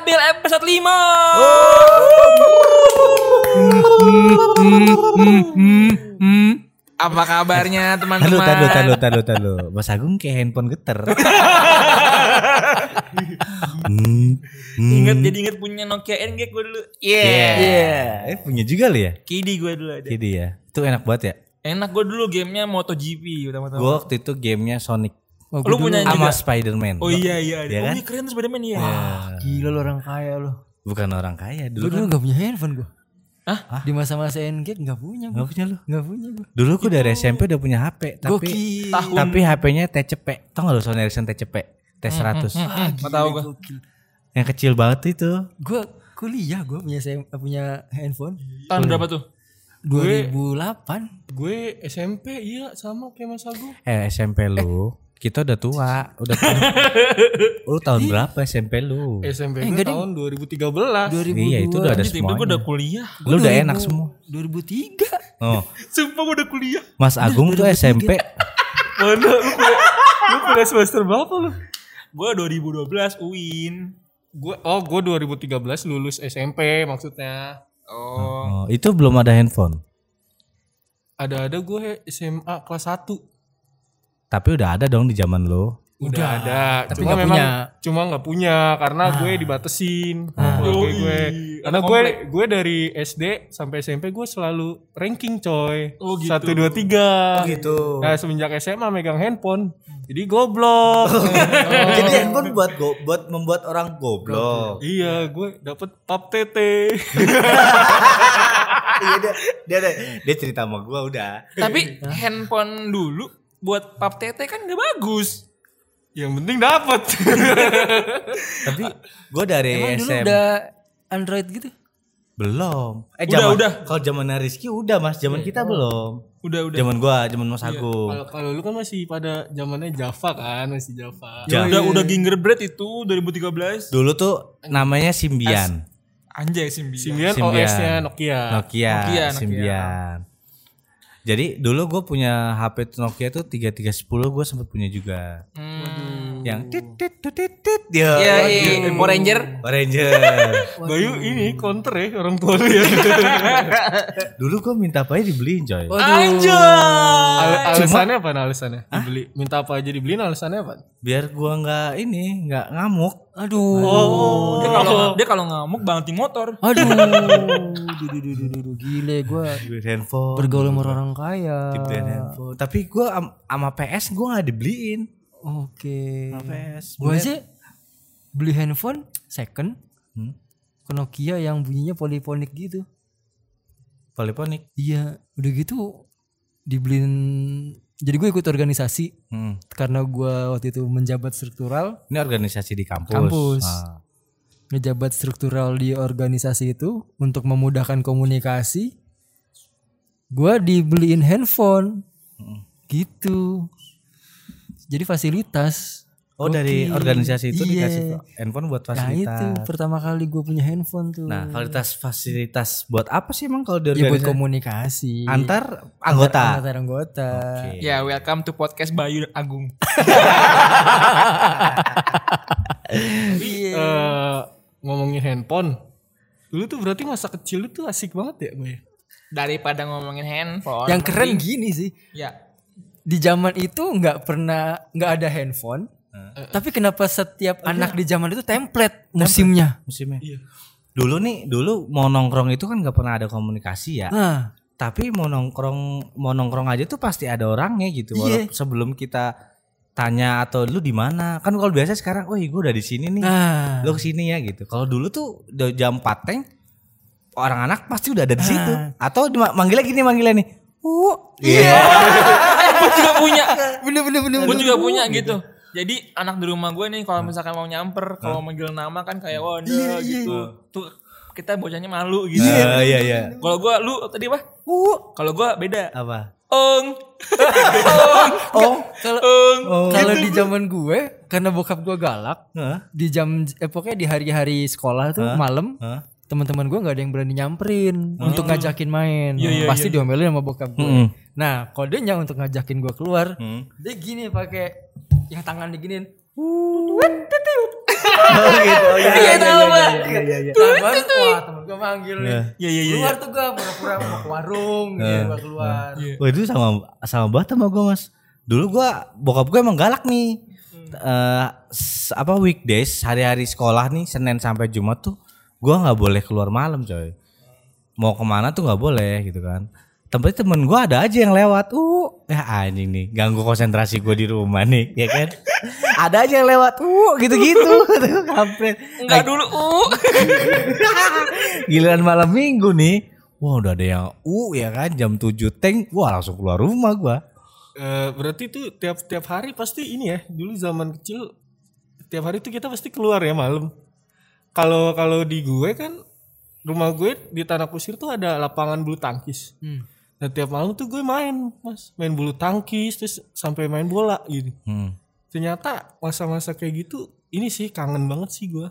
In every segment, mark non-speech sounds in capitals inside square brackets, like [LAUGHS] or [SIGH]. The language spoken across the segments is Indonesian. episode 5 Apa kabarnya Talu, teman-teman? talu, talu, talu, talu. Mas Agung kayak handphone geter. Hmm, hmm. Ingat jadi ingat punya Nokia NG gue dulu. [LAUGHS] Yeah. Eh, punya juga lu ya? Kidi gue dulu ada. Jadi ya, itu enak banget ya. Enak gue dulu gamenya MotoGP Gue pertama-tama. waktu itu gamenya Sonic. Lu punya sama Oh. juga? Spiderman. Oh iya iya. Iya oh kan? iya keren tuh Spiderman iya. Gila lu orang kaya lu. Bukan orang kaya Lu dulu. kan. dulu gak punya handphone gua. Hah? Di masa-masa NG gak punya Gak gua. punya lu. Gak punya gua. Dulu gue dari SMP udah punya HP, tapi ah, Gokil. tapi HP-nya TCP. Tau gak lu Sony Ericsson TCP? T100. Nggak tahu gue. Gokil. Yang kecil banget itu. Gua kuliah gua punya sem- punya handphone Iya. Tahun berapa tuh? 2008. Gue SMP iya sama kayak Mas Agung. Eh SMP lu, kita udah tua, udah [LAUGHS] Lu Iya. tahun berapa SMP lu? SMP Eh, gue enggak deh. tahun 2013. 2002. Iya, itu udah ada Jadi tiba-tiba gue udah semuanya. kuliah. Lu udah enak semua. 2003. Oh, [LAUGHS] Sumpah gue udah kuliah. Mas Agung tuh SMP. Mana lu [LAUGHS] kuliah, lu kuliah semester berapa lu? Gue 2012 UIN. Gue oh gue 2013 lulus SMP maksudnya. Oh. Oh, itu belum ada handphone. Ada-ada gue SMA kelas 1. Tapi udah ada dong di zaman lu. Udah, ada, tapi cuma nggak memang punya. cuma nggak punya Ah. karena gue dibatesin sama keluarga Yoi. gue. Anak Karena gue komplek. gue dari SD sampai SMP gue selalu ranking coy. Oh, gitu. Satu dua tiga. [LAUGHS] gitu. Nah semenjak SMA megang handphone, jadi goblok. Jadi handphone buat go, buat membuat orang goblok. [LAUGHS] iya, gue dapet pap TT. Iya dia, dia dia cerita sama gua udah. Tapi handphone dulu buat pap tete kan gak bagus. [LAUGHS] Yang penting dapet. Tapi gua dari Emang dulu SMP udah Android gitu? belum. Eh Udah, zaman- udah. Kalau zamannya Rizky udah Mas, zaman kita belum. Udah udah. Zaman gua, zaman Mas Agung. Kalau kalau lu kan masih pada zamannya Java kan, masih Java. Ja- Iya, Udah udah gingerbread itu 2013. Dulu tuh namanya Simbian. Anjay Simbian. Simbian Symbian. OS-nya oh, Nokia. Nokia, Nokia, Nokia. Symbian. Jadi dulu gue punya HP Nokia tuh 3310 gue sempat punya juga. Yang tit tit tit tit tit dia. Iya, iya, Power Ranger. Ranger. [LAUGHS] Bayu ini counter ya orang tua lu ya. dulu gue minta apa aja dibeliin coy. Anjay. Al- alasannya apa? Alasannya? Dibeli, minta apa aja dibeliin alasannya apa? Biar gua nggak ini nggak ngamuk. Aduh. Oh. Dia kalau dia kalau ngamuk banting motor. Aduh. Duh, duh, duh, duh, duh, duh. Gile gua Dibeliin handphone. bergaul sama orang kaya. Dibeliin handphone. Tapi gue sama PS gue nggak dibeliin. Oke. PS. Gua aja beli handphone second Hmm. ke Nokia yang bunyinya polifonik gitu. Poliponik. Iya, udah gitu dibeliin jadi gue ikut organisasi Hmm. karena gua waktu itu menjabat struktural Ini organisasi di kampus. Kampus. Ah. ngejabat struktural di organisasi itu untuk memudahkan komunikasi gua dibeliin handphone Hmm. gitu jadi fasilitas Oh dari Gokil. organisasi itu Iya. dikasih handphone buat nah fasilitas. itu pertama kali gue punya handphone tuh Nah, fasilitas-fasilitas buat apa sih emang kalau dari ya Hmm. buat komunikasi antar anggota? antar anggota Iya. Ya, welcome to podcast Bayu dan Agung. Eh ngomongin handphone. Dulu tuh berarti masa kecil lu tuh asik banget ya, Bay? Daripada ngomongin handphone. yang keren gini sih Ya. di zaman itu nggak pernah nggak ada handphone tapi kenapa setiap anak di zaman itu template musimnya Iya. Musimnya. Dulu nih, dulu mau nongkrong itu kan nggak pernah ada komunikasi ya. nah Tapi mau nongkrong, mau nongkrong aja tuh pasti ada orangnya gitu. Iya. Walau sebelum kita tanya atau lu di mana? Kan kalau biasa sekarang, "Wih, gua udah di sini nih. nah Lu kesini ya." gitu. Kalau dulu tuh udah jam 4 teng orang anak pasti udah ada Nah. di situ. Atau di- manggilnya gini, manggilnya nih. Uh, Iya. gue juga [LAUGHS] punya. bener bener bener Gue juga punya gitu. Jadi anak di rumah gue nih kalau misalkan mau nyamper, kalau manggil nama kan kayak Iya, wonder gitu. Tuh kita bocahnya malu gitu. Ah, iya iya. Kalau gue lu tadi apa? Uh, Kalau gue beda. apa? Ong. Oh, kalau Ong. kalau di zaman gue karena bokap gue galak Heeh. di jam eh pokoknya di hari-hari sekolah tuh malam Heeh. teman-teman gue nggak ada yang berani nyamperin untuk ngajakin main pasti diomelin sama bokap gue Iya, Mm-mm. nah kodenya untuk ngajakin gue keluar Hmm. dia gini pakai yang tangan diginin Oh gitu. Oh, iya, iya, tahu, iya, Pak. iya, iya, iya. Nah, baru, wah temen gue manggil nih. Iya iya iya. Keluar tuh gue pura-pura mau ke warung Iya, gitu, gue keluar. Wah itu sama sama banget sama gue mas. Dulu gue bokap gue emang galak nih. Eh, s- apa weekdays hari-hari sekolah nih Senin sampai Jumat tuh gue nggak boleh keluar malam coy. Mau kemana tuh nggak boleh gitu kan. Tapi temen gue ada aja yang lewat. Uh, ya anjing nih ganggu konsentrasi gue di rumah nih, ya kan? [LAUGHS] ada aja yang lewat. Uh, gitu-gitu. [LAUGHS] Tuh, Kampret. [LAUGHS] Enggak dulu. Uh. Giliran malam minggu nih. Wah udah ada yang uh ya kan jam 7 teng. Wah langsung keluar rumah gua. Eh, berarti tuh tiap tiap hari pasti ini ya. Dulu zaman kecil tiap hari tuh kita pasti keluar ya malam. Kalau kalau di gue kan rumah gue di tanah kusir tuh ada lapangan bulu tangkis. Nah tiap malam tuh gue main mas, main bulu tangkis terus sampai main bola gitu. Hmm. Ternyata masa-masa kayak gitu ini sih kangen banget sih gue.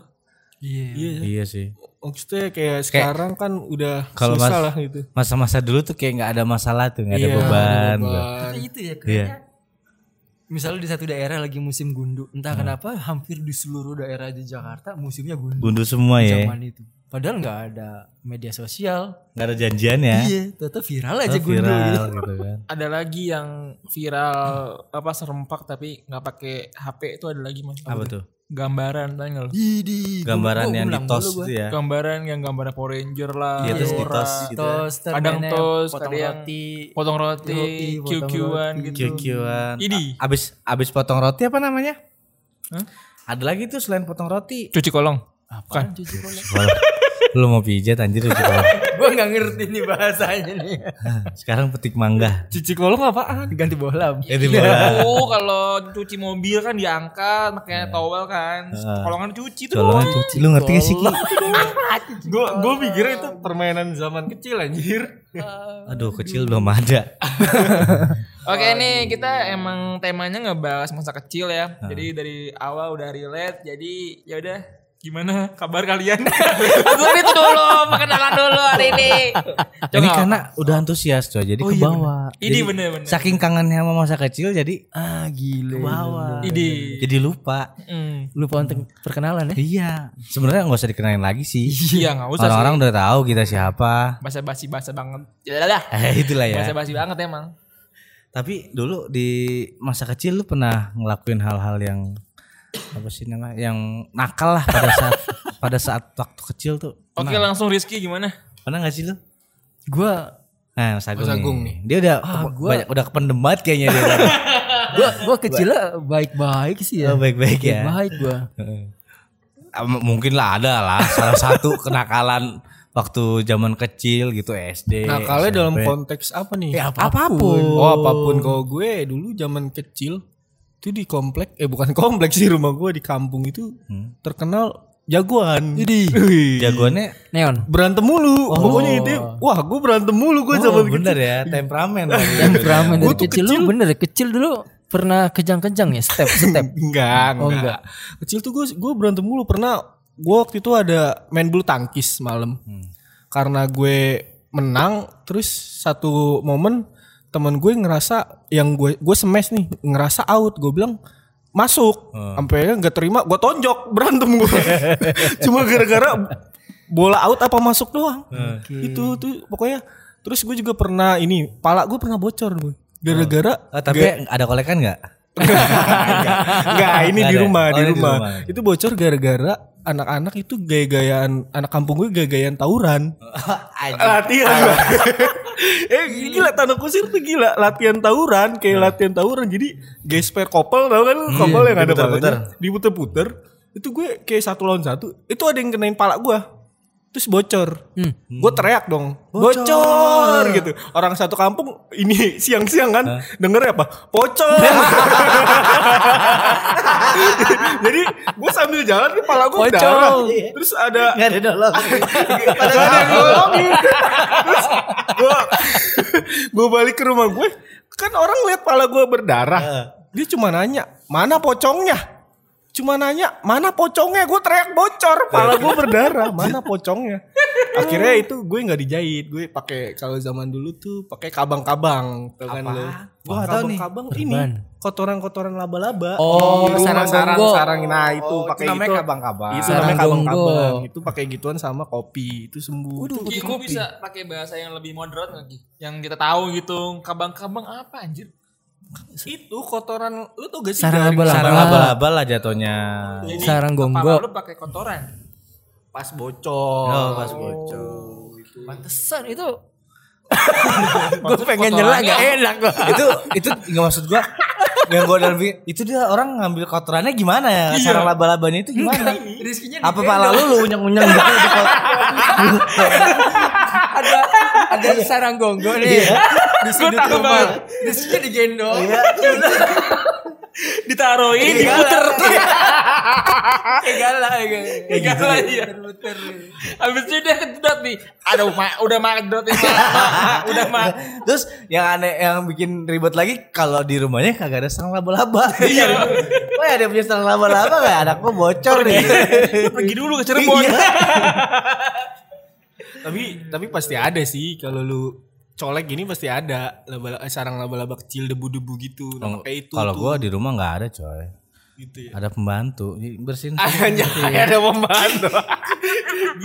Iya. Iya. Iya sih. Maksudnya kayak sekarang kan udah Kalau susah mas- lah gitu. Masa-masa dulu tuh kayak nggak ada masalah tuh, nggak ada Iya, beban. ada gua. beban. Tapi itu ya Iya. kayaknya. Misalnya di satu daerah lagi musim gundu, entah kenapa hampir di seluruh daerah di Jakarta musimnya gundu Gundul semua ya. zaman itu. Padahal nggak ada media sosial. Nggak ada janjian ya. Oh, Iya, tetap viral aja Viral gundu. gitu. gitu kan. Ada lagi yang viral apa serempak tapi nggak pakai HP itu ada lagi mas. Apa tuh? Gambaran tanya nggak lo? Di di Gambaran gua yang di ulang tos dulu gua. itu ya. Gambaran yang gambaran Power Ranger lah. Iya, terus Dora, ditos gitu ya. Tos, Kadang termene, tos, potong ada yang- roti. Potong Roti, roti, potong QQ-an roti. gitu. Kikiwan. Ini. A- Abis abis potong roti apa namanya? Hah? Ada lagi tuh selain potong roti. Cuci kolong. Apaan cuci kolong? Lu mau pijat anjir lu juga. [LAUGHS] [LAUGHS] Gua nggak ngerti nih bahasanya nih. Sekarang petik mangga. Cici kolong apaan? Ganti bola. Jadi bola. Oh, kalau cuci mobil kan diangkat, makanya towel kan. Kolongan cuci tuh. Colongan cuci. Lu ngerti gak sih Ki? Gue gue pikir itu permainan zaman kecil anjir. Aduh kecil belum ada. Oke nih kita emang temanya ngebahas masa kecil ya. Jadi dari awal udah relate. Jadi ya udah gimana kabar kalian? Gue itu dulu perkenalan dulu hari ini. Ini karena udah antusias coy, jadi ke bawah. Ini Jadi bener-bener. Saking kangennya sama masa kecil jadi Ah gile. bawah. Ini. Jadi lupa. Hmm. Lupa untuk perkenalan ya. Iya, sebenarnya nggak usah dikenalin lagi sih. Iya nggak usah Orang-orang udah tahu kita siapa. [LAUGHS] bahasa basi bahasa banget. Ya lah. Eh, itulah ya. Bahasa basi banget emang. Tapi dulu di masa kecil lu pernah ngelakuin hal-hal yang apa sih nama yang nakal lah pada saat pada saat waktu kecil tuh. Oke langsung Rizky gimana? Pernah nggak sih lu? Gua Nah, Mas Agung, Mas Agung nih. Dia udah banyak udah kependem banget kayaknya dia. gua gua kecilnya baik-baik sih ya. Oh, baik-baik ya. Baik gua. Ah, m- mungkin lah ada lah salah satu kenakalan waktu zaman kecil gitu SD. Nah, kalau SMP. dalam konteks apa nih? Ya, apapun. Eh, apapun. Oh, apapun kalau gue dulu zaman kecil itu di komplek eh bukan [LAUGHS] komplek sih rumah gue di kampung itu terkenal jagoan. Jadi [LAUGHS] Jagoannya Neon. berantem mulu. Pokoknya itu wah, gue berantem mulu gue oh, zaman bener ya [LAUGHS] temperamen. lagi. Temperamen dari kecil, lu bener ya kecil dulu pernah kejang-kejang ya step [LAUGHS] step. Enggak, enggak. Oh, enggak. Kecil tuh gue gue berantem mulu pernah gue waktu itu ada main bulu tangkis malam. Karena gue menang terus satu momen temen gue ngerasa yang gue gue smash nih ngerasa out gue bilang masuk sampai nggak terima gue tonjok berantem gue cuma gara-gara bola out apa masuk doang itu tuh pokoknya terus gue juga pernah ini pala gue pernah bocor gue gara-gara Ah, tapi ada kolekan [LAUGHS] nggak? [LAUGHS] Enggak, ini Nggak di ada. rumah, Oh, di ini di rumah. rumah. Itu bocor gara-gara anak-anak itu gaya-gayaan anak kampung gue gaya-gayaan tawuran. latihan. Bang. [LAUGHS] eh gila tanah kusir tuh gila latihan tawuran, kayak latihan tawuran. Jadi gesper kopel tau kan kopel yang ada diputer-puter. palanya diputer-puter. Itu gue kayak satu lawan satu. Itu ada yang kenain pala gue. Terus bocor. Gue teriak dong. Bocor. gitu. Orang satu kampung ini siang-siang kan denger apa? Pocor. Jadi gue sambil jalan nih pala gue Pocong. darah. Terus ada Nggak ada dolong. gak ada yang nolongin. Terus gue gue balik ke rumah gue kan orang lihat pala gue berdarah. Dia cuma nanya mana pocongnya. Cuma nanya mana pocongnya gue teriak bocor pala gue berdarah mana pocongnya. akhirnya itu gue nggak dijahit gue pakai kalau zaman dulu tuh pakai kabang-kabang tuh kan lo Gua nggak tahu nih. kabang-kabang ini kotoran-kotoran laba-laba Oh, Di rumah, sarang-sarang. sarang-sarang nah itu pakai Oh, namanya itu kabang-kabang. itu Sarang namanya kabang-kabang gonggo. itu pakai gituan sama kopi itu sembuh Waduh, Ki, gua bisa pakai bahasa yang lebih moderat lagi. Yang kita tahu gitu. Kabang-kabang apa anjir? itu kotoran lu tuh gak sih Sarang laba-laba. jaring- Iya, Sarang laba-laba lah jatuhnya. Jadi, Sarang Kepala gonggo. lu pakai kotoran. pas bocor Oh, pas bocor. Pantesan itu. gue pengen nyela kotorannya. gak enak gua. itu itu nggak maksud gua. Yang gua dalam pikir, itu dia orang ngambil kotorannya gimana ya? Sarang laba-labanya itu gimana? Iya. Rizkinya Apa pala lu lu unyeng-unyeng gitu di kot- ada ada sarang gonggo nih. Iya. Iya. Di sudut tahu banget. rumah. Iya. Rizkinya digendong. Ditaruhin, Diputer. diputer. Iya, Kayak galak kayak. Tiga lagi ya. Muter. Habis itu udah kedot nih. Aduh, ma- udah magdot nih. Ma- ma- udah mah. Terus yang aneh yang bikin ribet lagi kalau di rumahnya kagak ada sarang laba-laba. Iya. [LAUGHS] Wah ada punya sarang laba-laba gak? Anak gua bocor nih. Pergi dulu ke Cirebon. Iya. tapi tapi pasti ada sih kalau lu colek gini pasti ada laba, eh, sarang laba-laba kecil debu-debu gitu nah, pakai itu Kalau tuh. gua di rumah nggak ada coy. gitu ya Ada pembantu Jadi bersihin. Ah, Anjay ada pembantu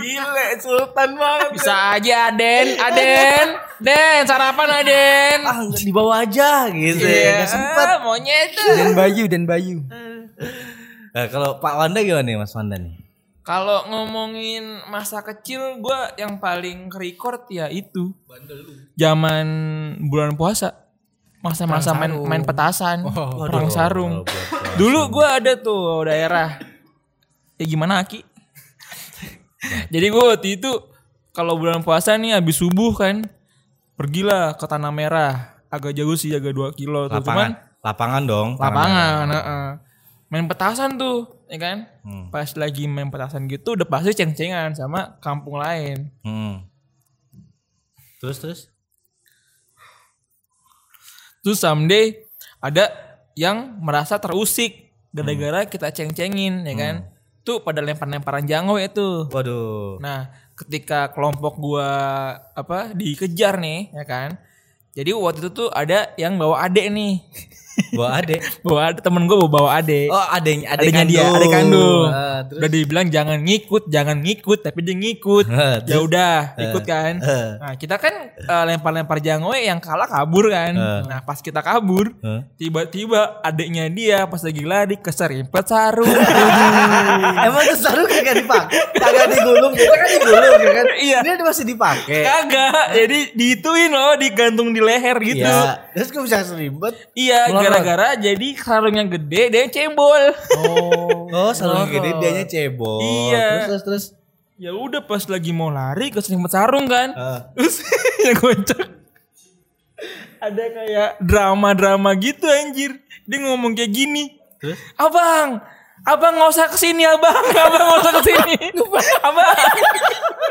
Gile Sultan banget Bisa aja Aden, Aden, Den sarapan Aden. Ah nggak, di bawah aja gitu. Iya, Nggak sempet. Iya, monyet. Dan Bayu dan Bayu. [LAUGHS] Nah, kalau Pak Wanda gimana nih Mas Wanda nih? Kalau ngomongin masa kecil, gue yang paling record ya itu. Zaman bulan puasa, masa-masa main, main petasan, perang sarung. Dulu gue ada tuh daerah. Ya gimana [LAUGHS] Aki? Jadi gue waktu itu kalau bulan puasa nih habis subuh kan, pergilah ke Tanah Merah. Agak jauh sih, agak 2 kilo tuh. Cuman Lapangan. Lapangan dong. lapangan heeh. main petasan tuh ya kan Hmm. pas lagi main petasan gitu udah pasti ceng-cengan sama kampung lain Hmm. Terus terus. terus someday ada yang merasa terusik gara-gara kita ceng-cengin ya kan tuh pada lempar-lemparan jango itu Waduh. nah ketika kelompok gua apa dikejar nih ya kan jadi waktu itu tuh ada yang bawa adek nih [LAUGHS] Gua adek. bawa adek, temen gua bawa bawa adek Oh, adek adiknya dia, adik kandung. Ah, terus. udah dibilang jangan ngikut, jangan ngikut, tapi dia ngikut. Ah, ya terus? udah, ikut kan. ah. Nah, kita kan eh, lempar-lempar jangoe yang kalah kabur kan. Nah, pas kita kabur, Ah. tiba-tiba adiknya dia pas lagi lari keserimpet [LAUGHS] sarung. Ah, Emang tuh sarung kagak dipakai, kagak digulung, kita kan digulung ya kan? Iya. Ini masih dipakai. Iya. Kagak, jadi diituin loh, digantung di leher gitu. Iya. Terus gue bisa seribet. Iya, gara-gara jadi sarungnya gede, dia cembol. [LAUGHS] Oh, sarung gede dianya cebol. Iya. Oh, Terus terus terus. Ya udah pas lagi mau lari keserimpet sarung kan. Ah. [LAUGHS] Terus yang kocak ada kayak drama-drama gitu anjir. Dia ngomong kayak gini. Abang, abang nggak usah kesini abang, [LAUGHS] abang nggak usah kesini. abang,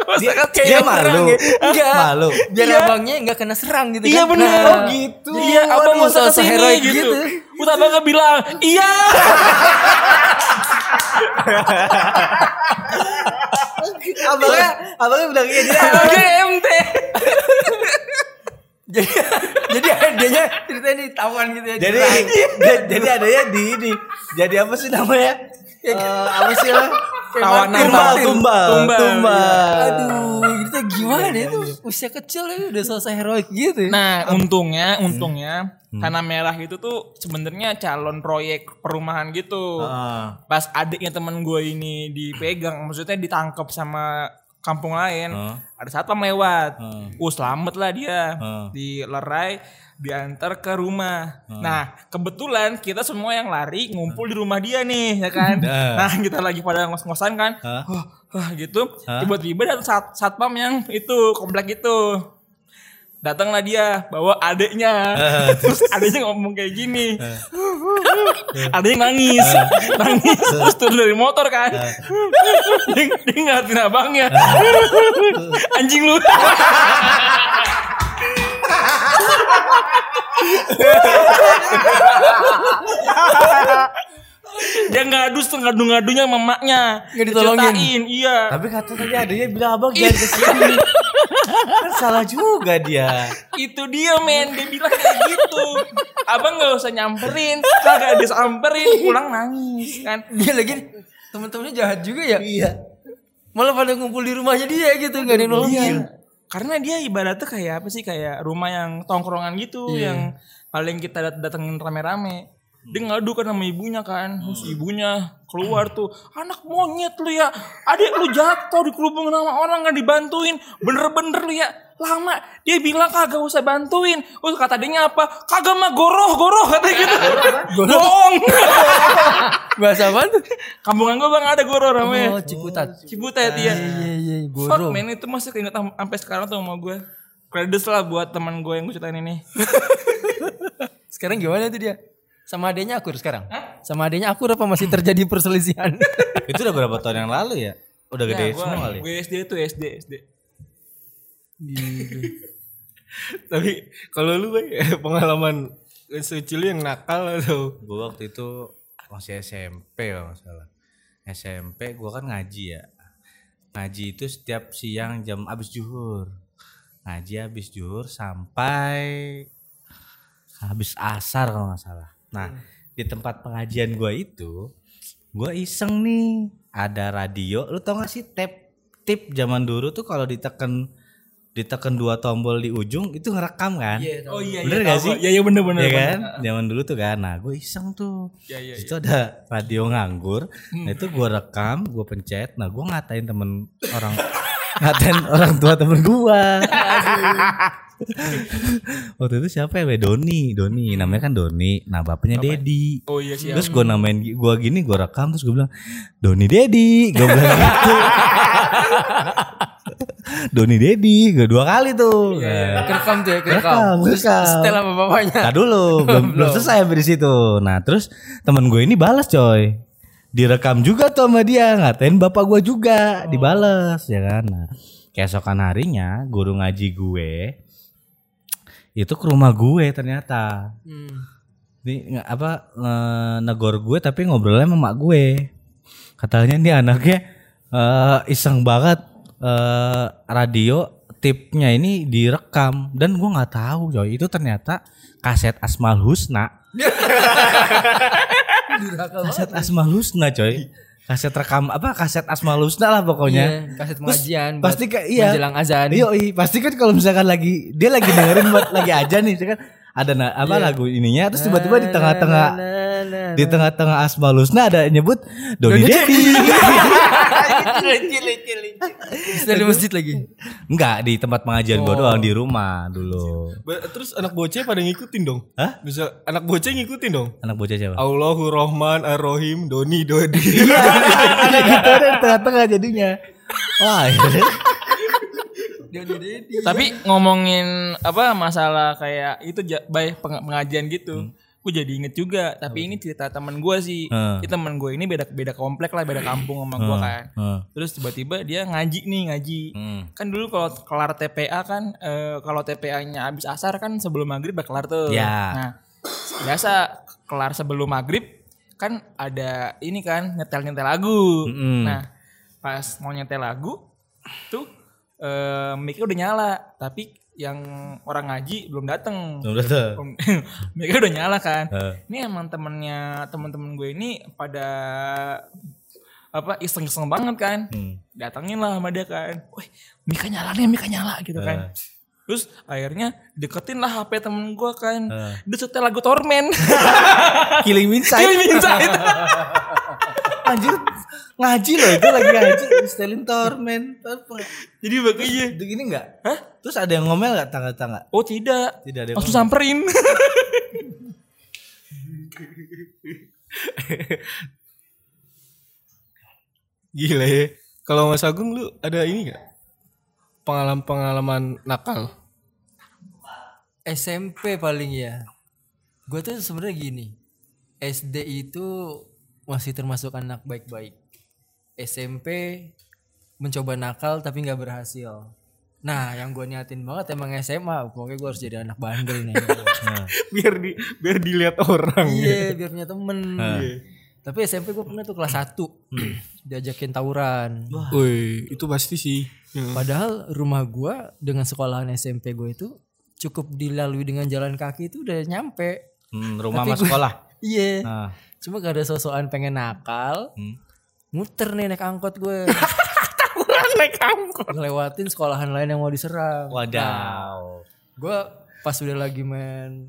nggak usah kesini. dia malu. gitu. Enggak. Malu. Biar Iya. abangnya enggak kena serang gitu Iya kan. bener. Nah, gitu. Iya, abang Waduh, nggak usah sosok kesini heroik gitu. gitu. Terus abang bilang, [LAUGHS] iya. Abangnya, abangnya bilang iya dia. GMT. Jadi jadi [LAUGHS] adanya ceritanya di taman gitu ya. Jadi ja- jadi adanya di ini. Jadi apa sih namanya? Eh, apa sih lah? Tawanan, tumbal, tawanan. tumbal, Tumbal, iya. tumbal. eh. Aduh, itu gimana ya itu usia kecil ya udah sosok heroik gitu. ya. Nah, untungnya, untungnya tanah merah itu tuh sebenarnya calon proyek perumahan gitu. Ah. Pas adiknya teman gue ini dipegang, maksudnya ditangkap sama kampung lain, Heeh. ada satpam lewat. Uh, selamat lah dia. Heeh. Dilerai, diantar ke rumah. Nah, kebetulan kita semua yang lari ngumpul di rumah dia nih, ya kan? Heeh. Nah, kita lagi pada ngos-ngosan kan. Heeh. Wah, wah, gitu. Tiba-tiba datang sat- satpam yang itu komplek itu datanglah dia bawa adeknya [LAUGHS] terus adeknya ngomong kayak gini [LAUGHS] adeknya nangis nangis terus turun dari motor kan dia, dia ngeliatin [LAUGHS] abangnya anjing lu Dia ngadus tuh ngadu-ngadunya sama emaknya. Nggak ditolongin. Diceritain, Iya. Tapi kata tadi adanya bilang abang jangan Iya. kesini. kan salah juga dia. itu dia men dia bilang kayak gitu abang nggak usah nyamperin kagak disamperin pulang nangis kan Dia lagi temen-temennya jahat juga ya. Iya. Malah pada ngumpul di rumahnya dia gitu nggak ada yang nolongin. Iya. karena dia ibaratnya kayak apa sih kayak rumah yang tongkrongan gitu Iya. yang paling kita dat- datengin rame-rame dia ngadu kan sama ibunya kan Terus Hmm. ibunya keluar tuh anak monyet lu ya adik lu jatuh dikerubungin sama orang nggak dibantuin bener-bener lu ya lama dia bilang kagak usah bantuin oh kata adiknya apa kagak mah goroh goroh katanya gitu bohong Bahasa apa tuh? [LAUGHS] Kampungan gue bang ada goro namanya. Oh, Cikutat. Cibutet ya. Iya iya Fuck guru. man itu masih keinget sam- sampai sekarang tuh sama gue. Kredus lah buat teman gue yang gue ceritain ini. Sekarang gimana tuh dia? Sama adanya akur sekarang. Sama adanya akur apa masih terjadi perselisihan? Itu udah berapa tahun yang lalu ya? Udah gede semua kali. Gue SD itu SD SD. Tapi kalau lu Bay, [LAUGHS] pengalaman kecil yang nakal atau Gue waktu itu masih SMP kalau nggak salah. SMP gue kan ngaji ya. Ngaji itu setiap siang jam abis juhur. Ngaji abis juhur sampai habis asar kalau nggak salah. Nah di tempat pengajian gue itu gue iseng nih ada radio. Lu tau gak sih tap tip zaman dulu tuh kalau diteken diteken dua tombol di ujung itu ngerekam kan? Oh iya Bener iya. nggak tahu sih? gue. Iya iya bener bener. Iya bener. kan? Zaman dulu tuh kan. Nah, gue iseng tuh. Iya iya. itu ada radio nganggur. Hmm. Nah, itu gue rekam, gue pencet. Nah, gue ngatain temen orang [LAUGHS] ngatain orang tua temen gue. Waktu itu siapa ya? Doni, Doni. Namanya kan Doni. Nah, bapaknya Dedi. Hmm. Oh iya sih. Terus gue namain gue gini, gue rekam terus gue bilang Doni Dedi, gue bilang [LAUGHS] gitu. Doni Dedi, gue dua kali tuh. Iya, Nah, [LAUGHS] Kerekam tuh ya, Kerekam, kerekam. Terus kerekam. setel sama bapaknya. Nah dulu belum, belum selesai sampai di situ. Nah terus temen gue ini balas coy, direkam juga tuh sama dia ngatain bapak gue juga dibales ya kan. Nah, keesokan harinya guru ngaji gue itu ke rumah gue ternyata. Ini nge- apa nge- negor gue tapi ngobrolnya sama mak gue. Katanya nih anaknya eh, iseng banget eh, radio tipnya ini direkam dan gue nggak tahu coy itu ternyata kaset Asmal Husna kaset Asmal Husna coy kaset rekam apa kaset Asmal Husna lah Iya, pokoknya kaset Terus pengajian. buat pasti kayak iya Menjelang azan. Iya, iya. pasti kan kalau misalkan lagi dia lagi dengerin buat lagi aja nih, kan ada na- apa Iya. lagu ininya terus tiba-tiba di tengah-tengah di tengah-tengah Asmal Husna ada nyebut Doni Dedi. Setel di masjid lagi. [LAUGHS] Enggak, di tempat pengajian Oh. gua doang di rumah dulu. Ba- Terus anak bocah pada ngikutin dong. Hah? Bisa anak bocah ngikutin dong. Anak bocah Oh. siapa? Allahu Rahman Ar-Rahim Doni Dodi. [LAUGHS] [LAUGHS] Ada gitarnya di tengah-tengah jadinya. Wah, iya. akhirnya [LAUGHS] kan? Tapi ngomongin apa masalah kayak itu ja- baik peng- pengajian gitu. Gue jadi inget juga, tapi ini cerita teman gue sih. Hmm. Jadi teman gue ini beda beda komplek lah, beda kampung sama gue kan. Hmm. Terus tiba-tiba dia ngaji nih ngaji. Hmm. Kan dulu kalau kelar TPA kan eh, kalau TPA-nya habis asar kan sebelum maghrib udah kelar tuh. Ya. Nah, biasa kelar sebelum maghrib kan ada ini kan nyetel-nyetel lagu. Mm-mm. Nah, pas mau nyetel lagu tuh eh mic-nya udah nyala, tapi yang orang ngaji belum datang. udah tuh. Oh. [LAUGHS] Mereka udah nyala kan. Heeh. Ini emang temennya temen-temen gue ini pada apa iseng-iseng banget kan. Hmm. Datangin lah sama dia kan. Wih, Mika nyala nih, Mika nyala gitu kan. Terus akhirnya deketin lah HP temen gue kan. Dia setel lagu Tormen. Killing Me Inside. Dia minta itu. Anjir ngaji loh itu lagi ngaji Stelin Torment apa Jadi makanya. gini nggak Hah? terus ada yang ngomel nggak tangga-tangga Oh tidak. Tidak ada yang Langsung samperin. [LAUGHS] Gila ya. Kalau Mas Agung lu ada ini gak? Pengalaman-pengalaman nakal. [LAUGHS] SMP paling ya. Gue tuh sebenarnya gini. SD itu masih termasuk anak baik-baik. SMP mencoba nakal tapi nggak berhasil. Nah, yang gue niatin banget emang SMA. Pokoknya gue harus jadi anak bandel nih. biar di biar dilihat orang. [LAUGHS] Iya, biar punya temen. Tapi SMP gue pernah tuh kelas Hmm. 1 diajakin tawuran. Woi, itu pasti sih. Ya. Padahal rumah gue dengan sekolahan SMP gue itu cukup dilalui dengan jalan kaki itu udah nyampe. Hmm, rumah sama sekolah. Iya. Nah, Cuma gak ada sosokan pengen nakal. Hmm. Muter nih naik angkot gue. [LAUGHS] Tawuran naik angkot. ngelewatin sekolahan lain yang mau diserang. wadaw. Gue pas udah lagi main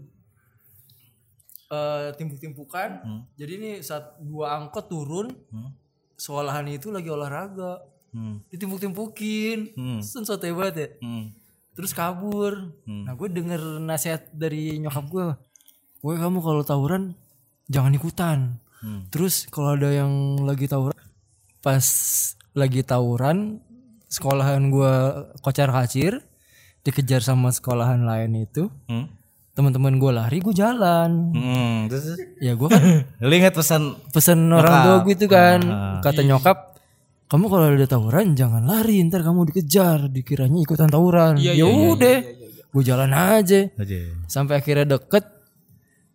eh timpuk-timpukan. Jadi ini saat dua angkot turun, sekolahan itu lagi olahraga. Hmm. Ditimpuk-timpukin. Sun sotoy banget ya. Hmm. Terus kabur. Nah gue denger nasihat dari nyokap gue. Gue kamu kalau tawuran jangan ikutan. Terus kalau ada yang lagi tawuran. Pas lagi tawuran. Sekolahan gue kocar kacir. Dikejar sama sekolahan lain itu. Hmm. Teman-teman gue lari gue jalan. Hmm. Terus terus. Ya gue kan lu inget pesan pesen orang tua gue itu kan Ah, Iya, kata nyokap kamu kalau ada tawuran jangan lari ntar kamu dikejar dikiranya ikutan Iya, tawuran ya udah gue jalan aja aja. sampai akhirnya deket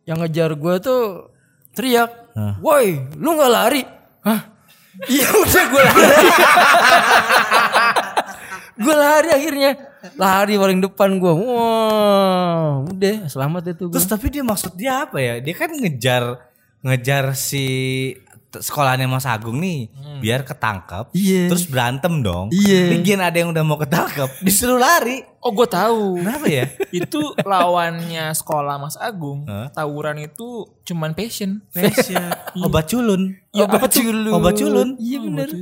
yang ngejar gue tuh teriak woi lu nggak lari hah [LAUGHS] iya udah gue lari [LAUGHS] gue lari akhirnya lari paling depan gue wow udah selamat itu gue Terus tapi dia maksud dia apa ya? Dia kan ngejar ngejar si t- sekolahannya Mas Agung nih biar ketangkap. Iya. Terus berantem dong. Iya. Lagian ada yang udah mau ketangkep, disuruh lari. Oh gue tahu. Kenapa ya? itu lawannya sekolah Mas Agung. Hah? Tawuran itu cuman passion. [LAUGHS] Obat culun. Ya, apa tuh? Obat culun. iya bener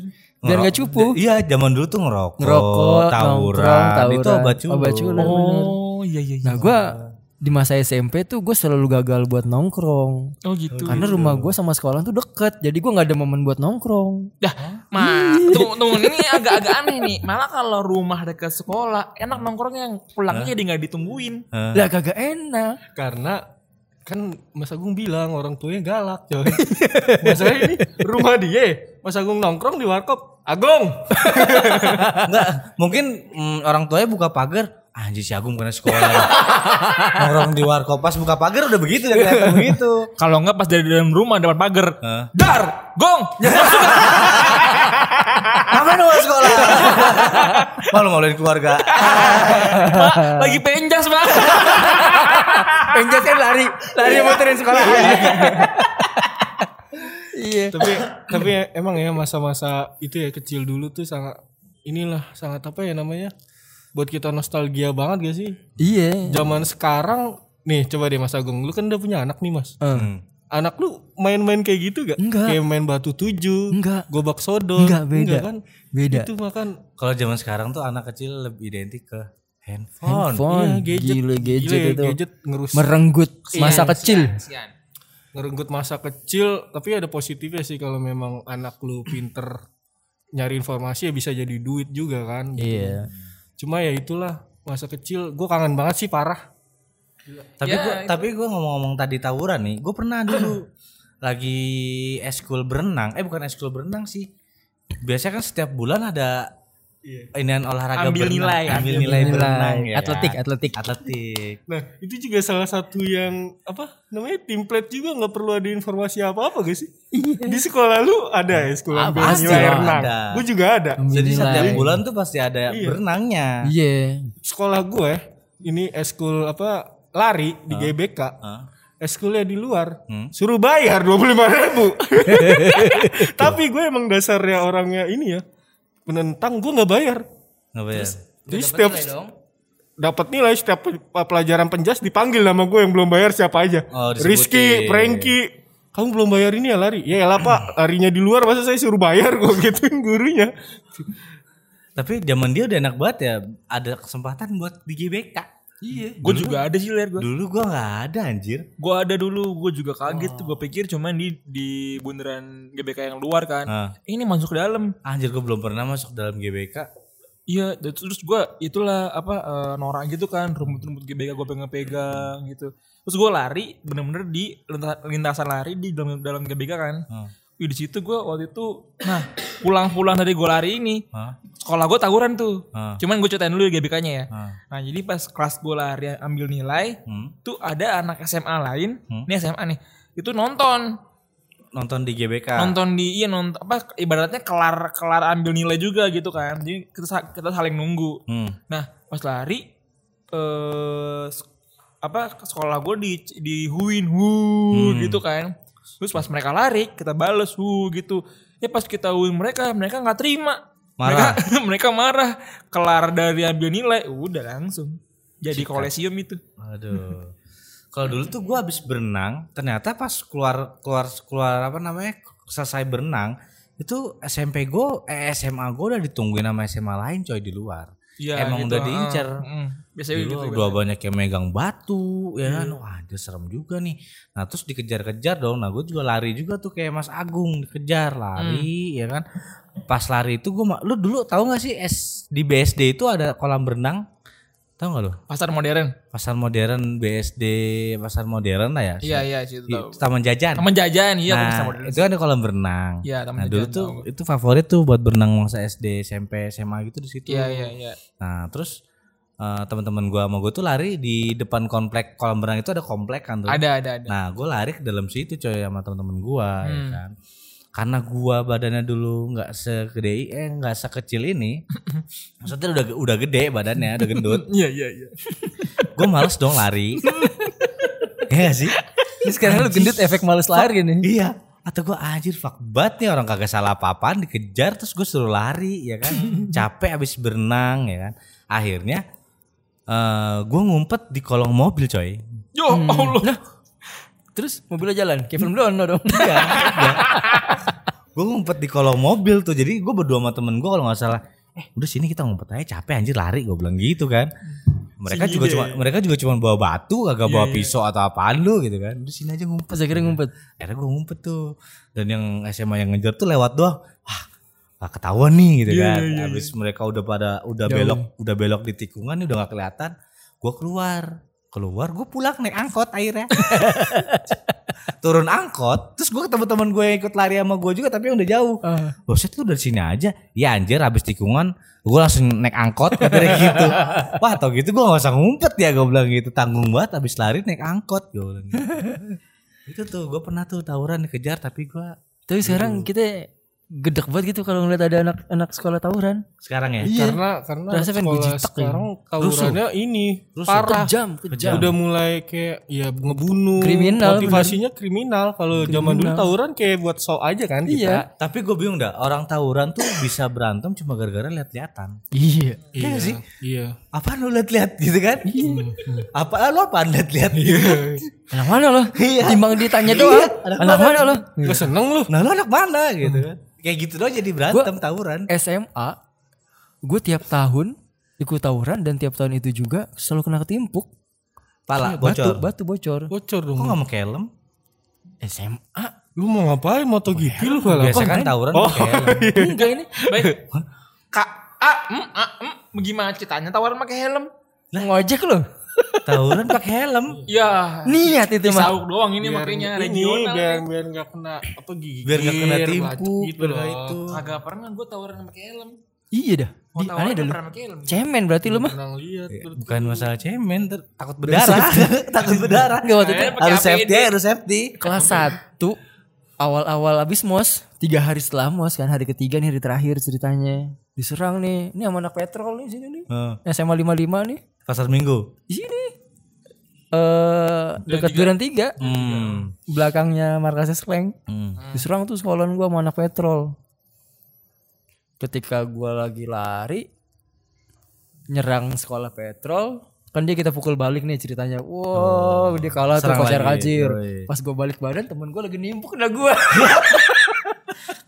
biar nggak Ngerok- cupu Iya, zaman dulu tuh ngerokok, ngerokok, tawuran, nongkrong, tawuran, itu obat culun. obat culun. [LAUGHS] Oh iya iya. iya. Nah gue di masa SMP tuh gue selalu gagal buat nongkrong. Oh gitu. Karena rumah gue sama sekolah tuh deket, jadi gue nggak ada momen buat nongkrong. Dah, ma, tunggu, tunggu, ini agak-agak aneh nih. Malah kalau rumah dekat sekolah, enak nongkrongnya pulangnya jadi nggak ditungguin. Lah kagak enak. Karena kan Mas Agung bilang orang tuanya galak, coy. Masalahnya ini rumah dia. Mas Agung nongkrong di warkop. Agung. Enggak, mungkin mm, orang tuanya buka pagar. Anjir si Agung kena sekolah. [LAUGHS] Orang di warkop pas buka pagar udah begitu ya [LAUGHS] kelihatan begitu. Kalau nggak pas dari dalam rumah dapat pagar. Hah? Dar, gong. ya, Apa nomor sekolah? [LAUGHS] Malu maluin keluarga. Mak, lagi penjas, Mak. Penjas kan lari, lari muterin sekolah. Iya. tapi tapi emang ya masa-masa itu ya kecil dulu tuh sangat inilah sangat apa ya namanya buat kita nostalgia banget gak sih Iya. zaman sekarang nih coba deh Mas Agung lu kan udah punya anak nih Mas Eh, anak lu main-main kayak gitu gak Enggak. kayak main batu tujuh Enggak. gobak sodor Enggak, beda. kan Beda. itu kan makan Kalau zaman sekarang tuh anak kecil lebih identik ke handphone. Handphone, Iya, gadget. gila gadget Gila ya, itu. gadget ngerusak. Merenggut Iya, masa kecil. Sian. ngerenggut masa kecil tapi ada positifnya sih kalau memang anak lu pinter nyari informasi ya bisa jadi duit juga kan Iya. cuma ya itulah masa kecil gue kangen banget sih parah Tapi gua tapi gua ngomong-ngomong tadi tawuran nih, gua pernah dulu lagi eskul berenang. Eh bukan eskul berenang sih. Biasanya kan setiap bulan ada inian olahraga Ambil berenang. nilai, ambil nilai, berenang ya. Atletik, kan? atletik. Atletik. nah itu juga salah satu yang apa namanya template juga nggak perlu ada informasi apa apa gak sih di sekolah lu ada ya sekolah ambil pasti nilai lah renang ada. gue juga ada Jadi Nilai. setiap bulan tuh pasti ada berenangnya. Iya. sekolah gue ini eskul apa lari di GBK eskulnya di luar Hmm? suruh bayar dua [LAUGHS] ribu [LAUGHS] tapi gue emang dasarnya orangnya ini ya penentang gue nggak bayar Nggak bayar. Jadi setiap dapat nilai setiap pe- pelajaran penjas dipanggil nama gue yang belum bayar siapa aja. Oh, disebutin. Rizky, Franky. Kamu belum bayar ini ya lari? Ya lah [CLEARS THROAT] pak, larinya di luar masa saya suruh bayar [LAUGHS] gue gituin gurunya. Tapi zaman dia udah enak banget ya, ada kesempatan buat di GBK. Iya. Gue juga ada sih lihat gue. Dulu gua nggak ada anjir. Gue ada dulu, gue juga kaget tuh. Gue pikir cuman di di bundaran GBK yang luar kan. Ah. Ini masuk ke dalam. Anjir gua belum pernah masuk dalam GBK. Iya, dan terus gue itulah apa eh, norak gitu kan rumput-rumput GBK gue pegang-pegang gitu. Terus gue lari bener-bener di lintas- lintasan lari di dalam dalam GBK kan. Wih, di situ gue waktu itu nah pulang-pulang dari gue lari ini Hah? sekolah gue tawuran tuh. Ah. Cuman gue ceritain dulu GBK-nya ya. Ah. Nah jadi pas kelas gue lari ambil nilai Hmm. tuh ada anak SMA lain, ini SMA nih itu nonton nonton di GBK. nonton di iya nonton apa ibaratnya kelar kelar ambil nilai juga gitu kan jadi kita sa- kita saling nunggu Hmm. nah pas lari eh s- apa ke sekolah gue di di huin hu Hmm. gitu kan terus pas mereka lari kita bales hu gitu ya pas kita huin mereka mereka nggak terima Marah. mereka, [LAUGHS] mereka marah kelar dari ambil nilai udah langsung jadi kolesium itu Aduh. Kalau dulu tuh gua habis berenang, ternyata pas keluar keluar keluar apa namanya selesai berenang itu SMP gue, eh, SMA gue udah ditungguin sama SMA lain coy di luar. Iya, Emang gitu, udah ah, diincer. mm. biasanya Dulu gitu udah banyak yang megang batu, Iya. ya kan? Wah, dia serem juga nih. Nah terus dikejar-kejar dong. Nah gue juga lari juga tuh kayak Mas Agung dikejar Hmm. lari, ya kan? Pas lari itu gue, lu dulu tahu nggak sih es di BSD itu ada kolam berenang? Tahu nggak lu? pasar modern pasar modern BSD pasar modern lah ya iya iya situ Di tahu taman jajan teman jajan iya aku nah pasar modern itu ada kolam berenang Iya, taman nah jajan, dulu tahu tuh itu favorit tuh buat berenang masa SD SMP SMA gitu di situ iya iya iya nah terus eh, teman-teman gua sama gua tuh lari di depan komplek kolam berenang itu ada komplek kan tuh ada ada ada nah gua lari ke dalam situ coy sama teman-teman gua ya Hmm. kan karena gua badannya dulu nggak segede eh nggak sekecil [LAUGHS] ini maksudnya udah udah gede badannya udah gendut iya iya iya gue males dong [LAUGHS] lari ya gak sih Ini sekarang lu gendut efek males lahir gini. iya atau gue anjir fuck banget nih orang kagak salah apa-apaan dikejar terus gue suruh lari ya kan capek abis berenang ya kan akhirnya eh gue ngumpet di kolong mobil coy yo allah Terus mobilnya jalan, kayak film Dono dong. Iya. gue ngumpet di kolong mobil tuh jadi gue berdua sama temen gue kalau nggak salah eh udah sini kita ngumpet aja capek anjir lari gue bilang gitu kan Hmm. mereka Sini juga deh. cuma ya. mereka juga cuma bawa batu kagak bawa pisau atau apaan lu gitu kan udah sini aja ngumpet Iya, Pas akhirnya ngumpet. akhirnya gue ngumpet tuh dan yang SMA yang ngejar tuh lewat doang wah gak ketahuan nih gitu Iya, kan habis mereka udah pada udah belok udah belok di tikungan nih udah gak kelihatan gue keluar keluar gue pulang naik angkot akhirnya turun angkot terus gue ketemu teman gue yang ikut lari sama gue juga tapi yang udah jauh Loh set lu dari sini aja ya anjir habis tikungan gue langsung naik angkot katanya [LAUGHS] gitu wah tau gitu gue gak usah ngumpet ya gue bilang gitu tanggung banget habis lari naik angkot gue bilang gitu. Itu tuh gue pernah tuh tawuran dikejar tapi gue Tapi sekarang kita gedek banget gitu kalau ngeliat ada anak-anak sekolah tawuran. sekarang ya. Karena karena Rasanya kan pengen sekolah dijitek, ya. sekarang tawurannya ini parah. Kejam, kejam. Udah mulai kayak ya ngebunuh. Kriminal, Motivasinya kriminal. Kalau zaman dulu tawuran kayak buat show aja kan Iya, kita. Tapi gue bingung dah orang tawuran tuh bisa berantem cuma gara-gara lihat-lihatan. Iya. Iya sih. Iya. Apaan lu lihat-lihat gitu kan? Apa lu apaan lihat-lihat gitu? Anak mana lo? Iya. Timbang ditanya doang. anak Anak mana lo? Gak seneng lu. Nah lu anak mana gitu kan? Kayak gitu doang jadi berantem tawuran. SMA, gue tiap tahun ikut tawuran dan tiap tahun itu juga selalu kena ketimpuk. Pala Batu, bocor. batu bocor. Bocor dong. Kok gak mau kelem? SMA. Lu mau ngapain moto gigi lu Ah. kalau Biasa kan tawuran pakai helm. Enggak ini. baik kak a mm, a mm. bagaimana ceritanya tawaran pakai helm Ngojek lo. [LAUGHS] Tawuran pakai helm. ya Niat itu mah. sauk doang ini makanya ini regional biar biar nggak kena apa gigi Biar nggak kena timpuk, gitu biar loh. nggak itu. kagak pernah gue tawaran pakai helm Iya dah. mau Di, tawaran aneh dah nggak lu. pernah pakai helm Cemen berarti lo mah. Pernah Iya, lihat Bukan masalah cemen, ter- takut berdarah, [LAUGHS] takut berdarah. Enggak waktu itu Akhirnya pakai Harus APD. safety, harus safety. kelas 1 awal-awal abis mos tiga hari setelah mos kan hari ketiga nih hari terakhir ceritanya diserang nih ini sama anak petrol nih sini nih Heeh. SMA 55 nih Pasar Minggu. di sini eh dekat Duren 3 Hmm. belakangnya markasnya Sleng Hmm. diserang tuh sekolahan gua sama anak petrol ketika gua lagi lari nyerang sekolah petrol kan dia kita pukul balik nih ceritanya wow dia kalah tuh serang kocar lagi. kacir Yoi. pas gua balik badan temen gua lagi nimpuk kena gua [LAUGHS]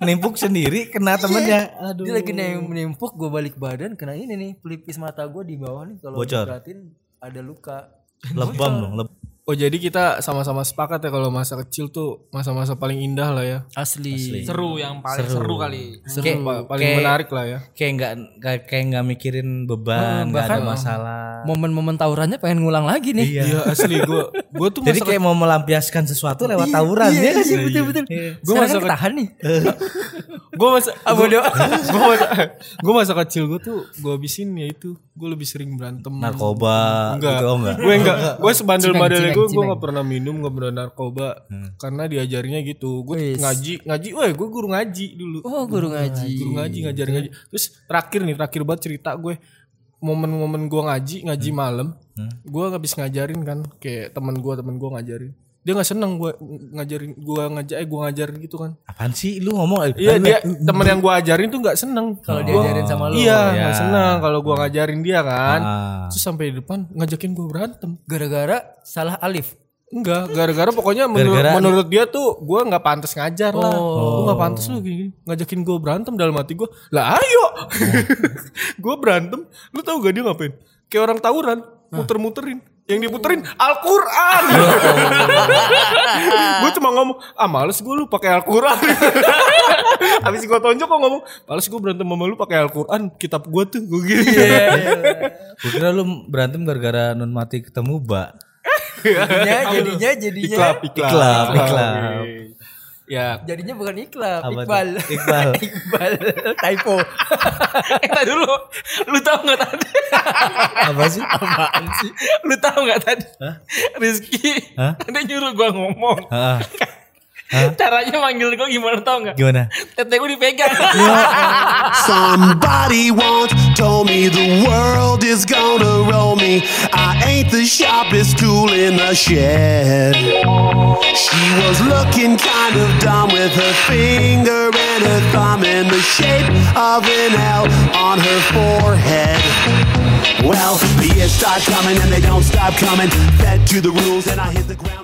Nimpuk sendiri kena temennya. Aduh. dia lagi nem- nimpuk gua balik badan kena ini nih pelipis mata gua di bawah nih kalau Bocor. diperhatiin ada luka Lebam dong. Lebam. Oh jadi kita sama-sama sepakat ya kalau masa kecil tuh masa-masa paling indah lah ya. asli, seru yang paling seru, kali [LAUGHS] Seru, pa- paling menarik lah ya. Kayak nggak nggak- kayak nggak mikirin beban, nggak ada masalah. momen-momen tawurannya pengen ngulang lagi nih Iya asli gue gue [LAUGHS] tuh Jadi kayak Iya, Iya mau melampiaskan sesuatu lewat tawuran ya nggak sih? betul betul. Gue iya, Gua masa [LAUGHS] masuk ke- Eh. ketahan nih. gue masa ah, bodoh gue masa gue masa kecil gue tuh gue habisin ya itu gue lebih sering berantem narkoba enggak gitu oh enggak gue enggak gue sebandel Cimeng, bandelnya cimeng, gue gue cimeng. nggak pernah minum nggak pernah narkoba karena diajarinnya gitu gue Wis. ngaji ngaji weh gue guru ngaji dulu Oh guru guru ngaji. ngaji ngajarin ngaji terus terakhir nih terakhir banget cerita gue momen-momen gue ngaji ngaji malam gue habis ngajarin kan kayak temen gue temen gue ngajarin dia nggak seneng gue ngajarin gue ngajak eh gue ngajarin gitu kan apaan sih lu ngomong iya dia temen yang gue ajarin tuh nggak seneng Kalau diajarin sama lu ya. iya Iya. nggak seneng kalau gue ngajarin dia kan Ah. terus sampai di depan ngajakin gue berantem gara-gara salah [LAUGHS] alif. Enggak, gara-gara pokoknya menurut, Gara-gara- Oh. menurut dia tuh gue nggak pantas ngajar lah. Gue nggak pantas lu gini, ngajakin gue berantem dalam hati gue. Lah ayo, [LAUGHS] gue berantem. Lu tau gak dia ngapain? Kayak orang tawuran, muter-muterin. Yang diputerin [LAUGHS] Al-Quran. gue cuma ngomong, ah males gue lu pakai Al-Quran. [LAUGHS] Habis gue tonjok gue ngomong, males gue berantem sama lu pakai Al-Quran. Kitab gue tuh gue gini. Iya. Gue kira lu berantem gara-gara non mati ketemu ba. Jadinya jadinya jadinya [LAUGHS] Iklap, iklap. Iklap, iklap. Ya, jadinya bukan iklap, Apa tuh? Iqbal. Iqbal. [LAUGHS] Iqbal typo. Eh, tar dulu. Lu tahu nggak tadi? Apa sih? Apaan sih? Lu tahu nggak tadi? Rizky, Hah? ada nyuruh gua ngomong. Ah, Caranya manggil gua gimana tau nggak? gimana? Tete gua dipegang. Somebody once told me the world is gonna roll me. I ain't the sharpest tool in the shed. She was looking kind of dumb with her finger and her thumb in the shape of an L on her forehead. Well, the years start coming and they don't stop coming. Fed to the rules and I hit the ground.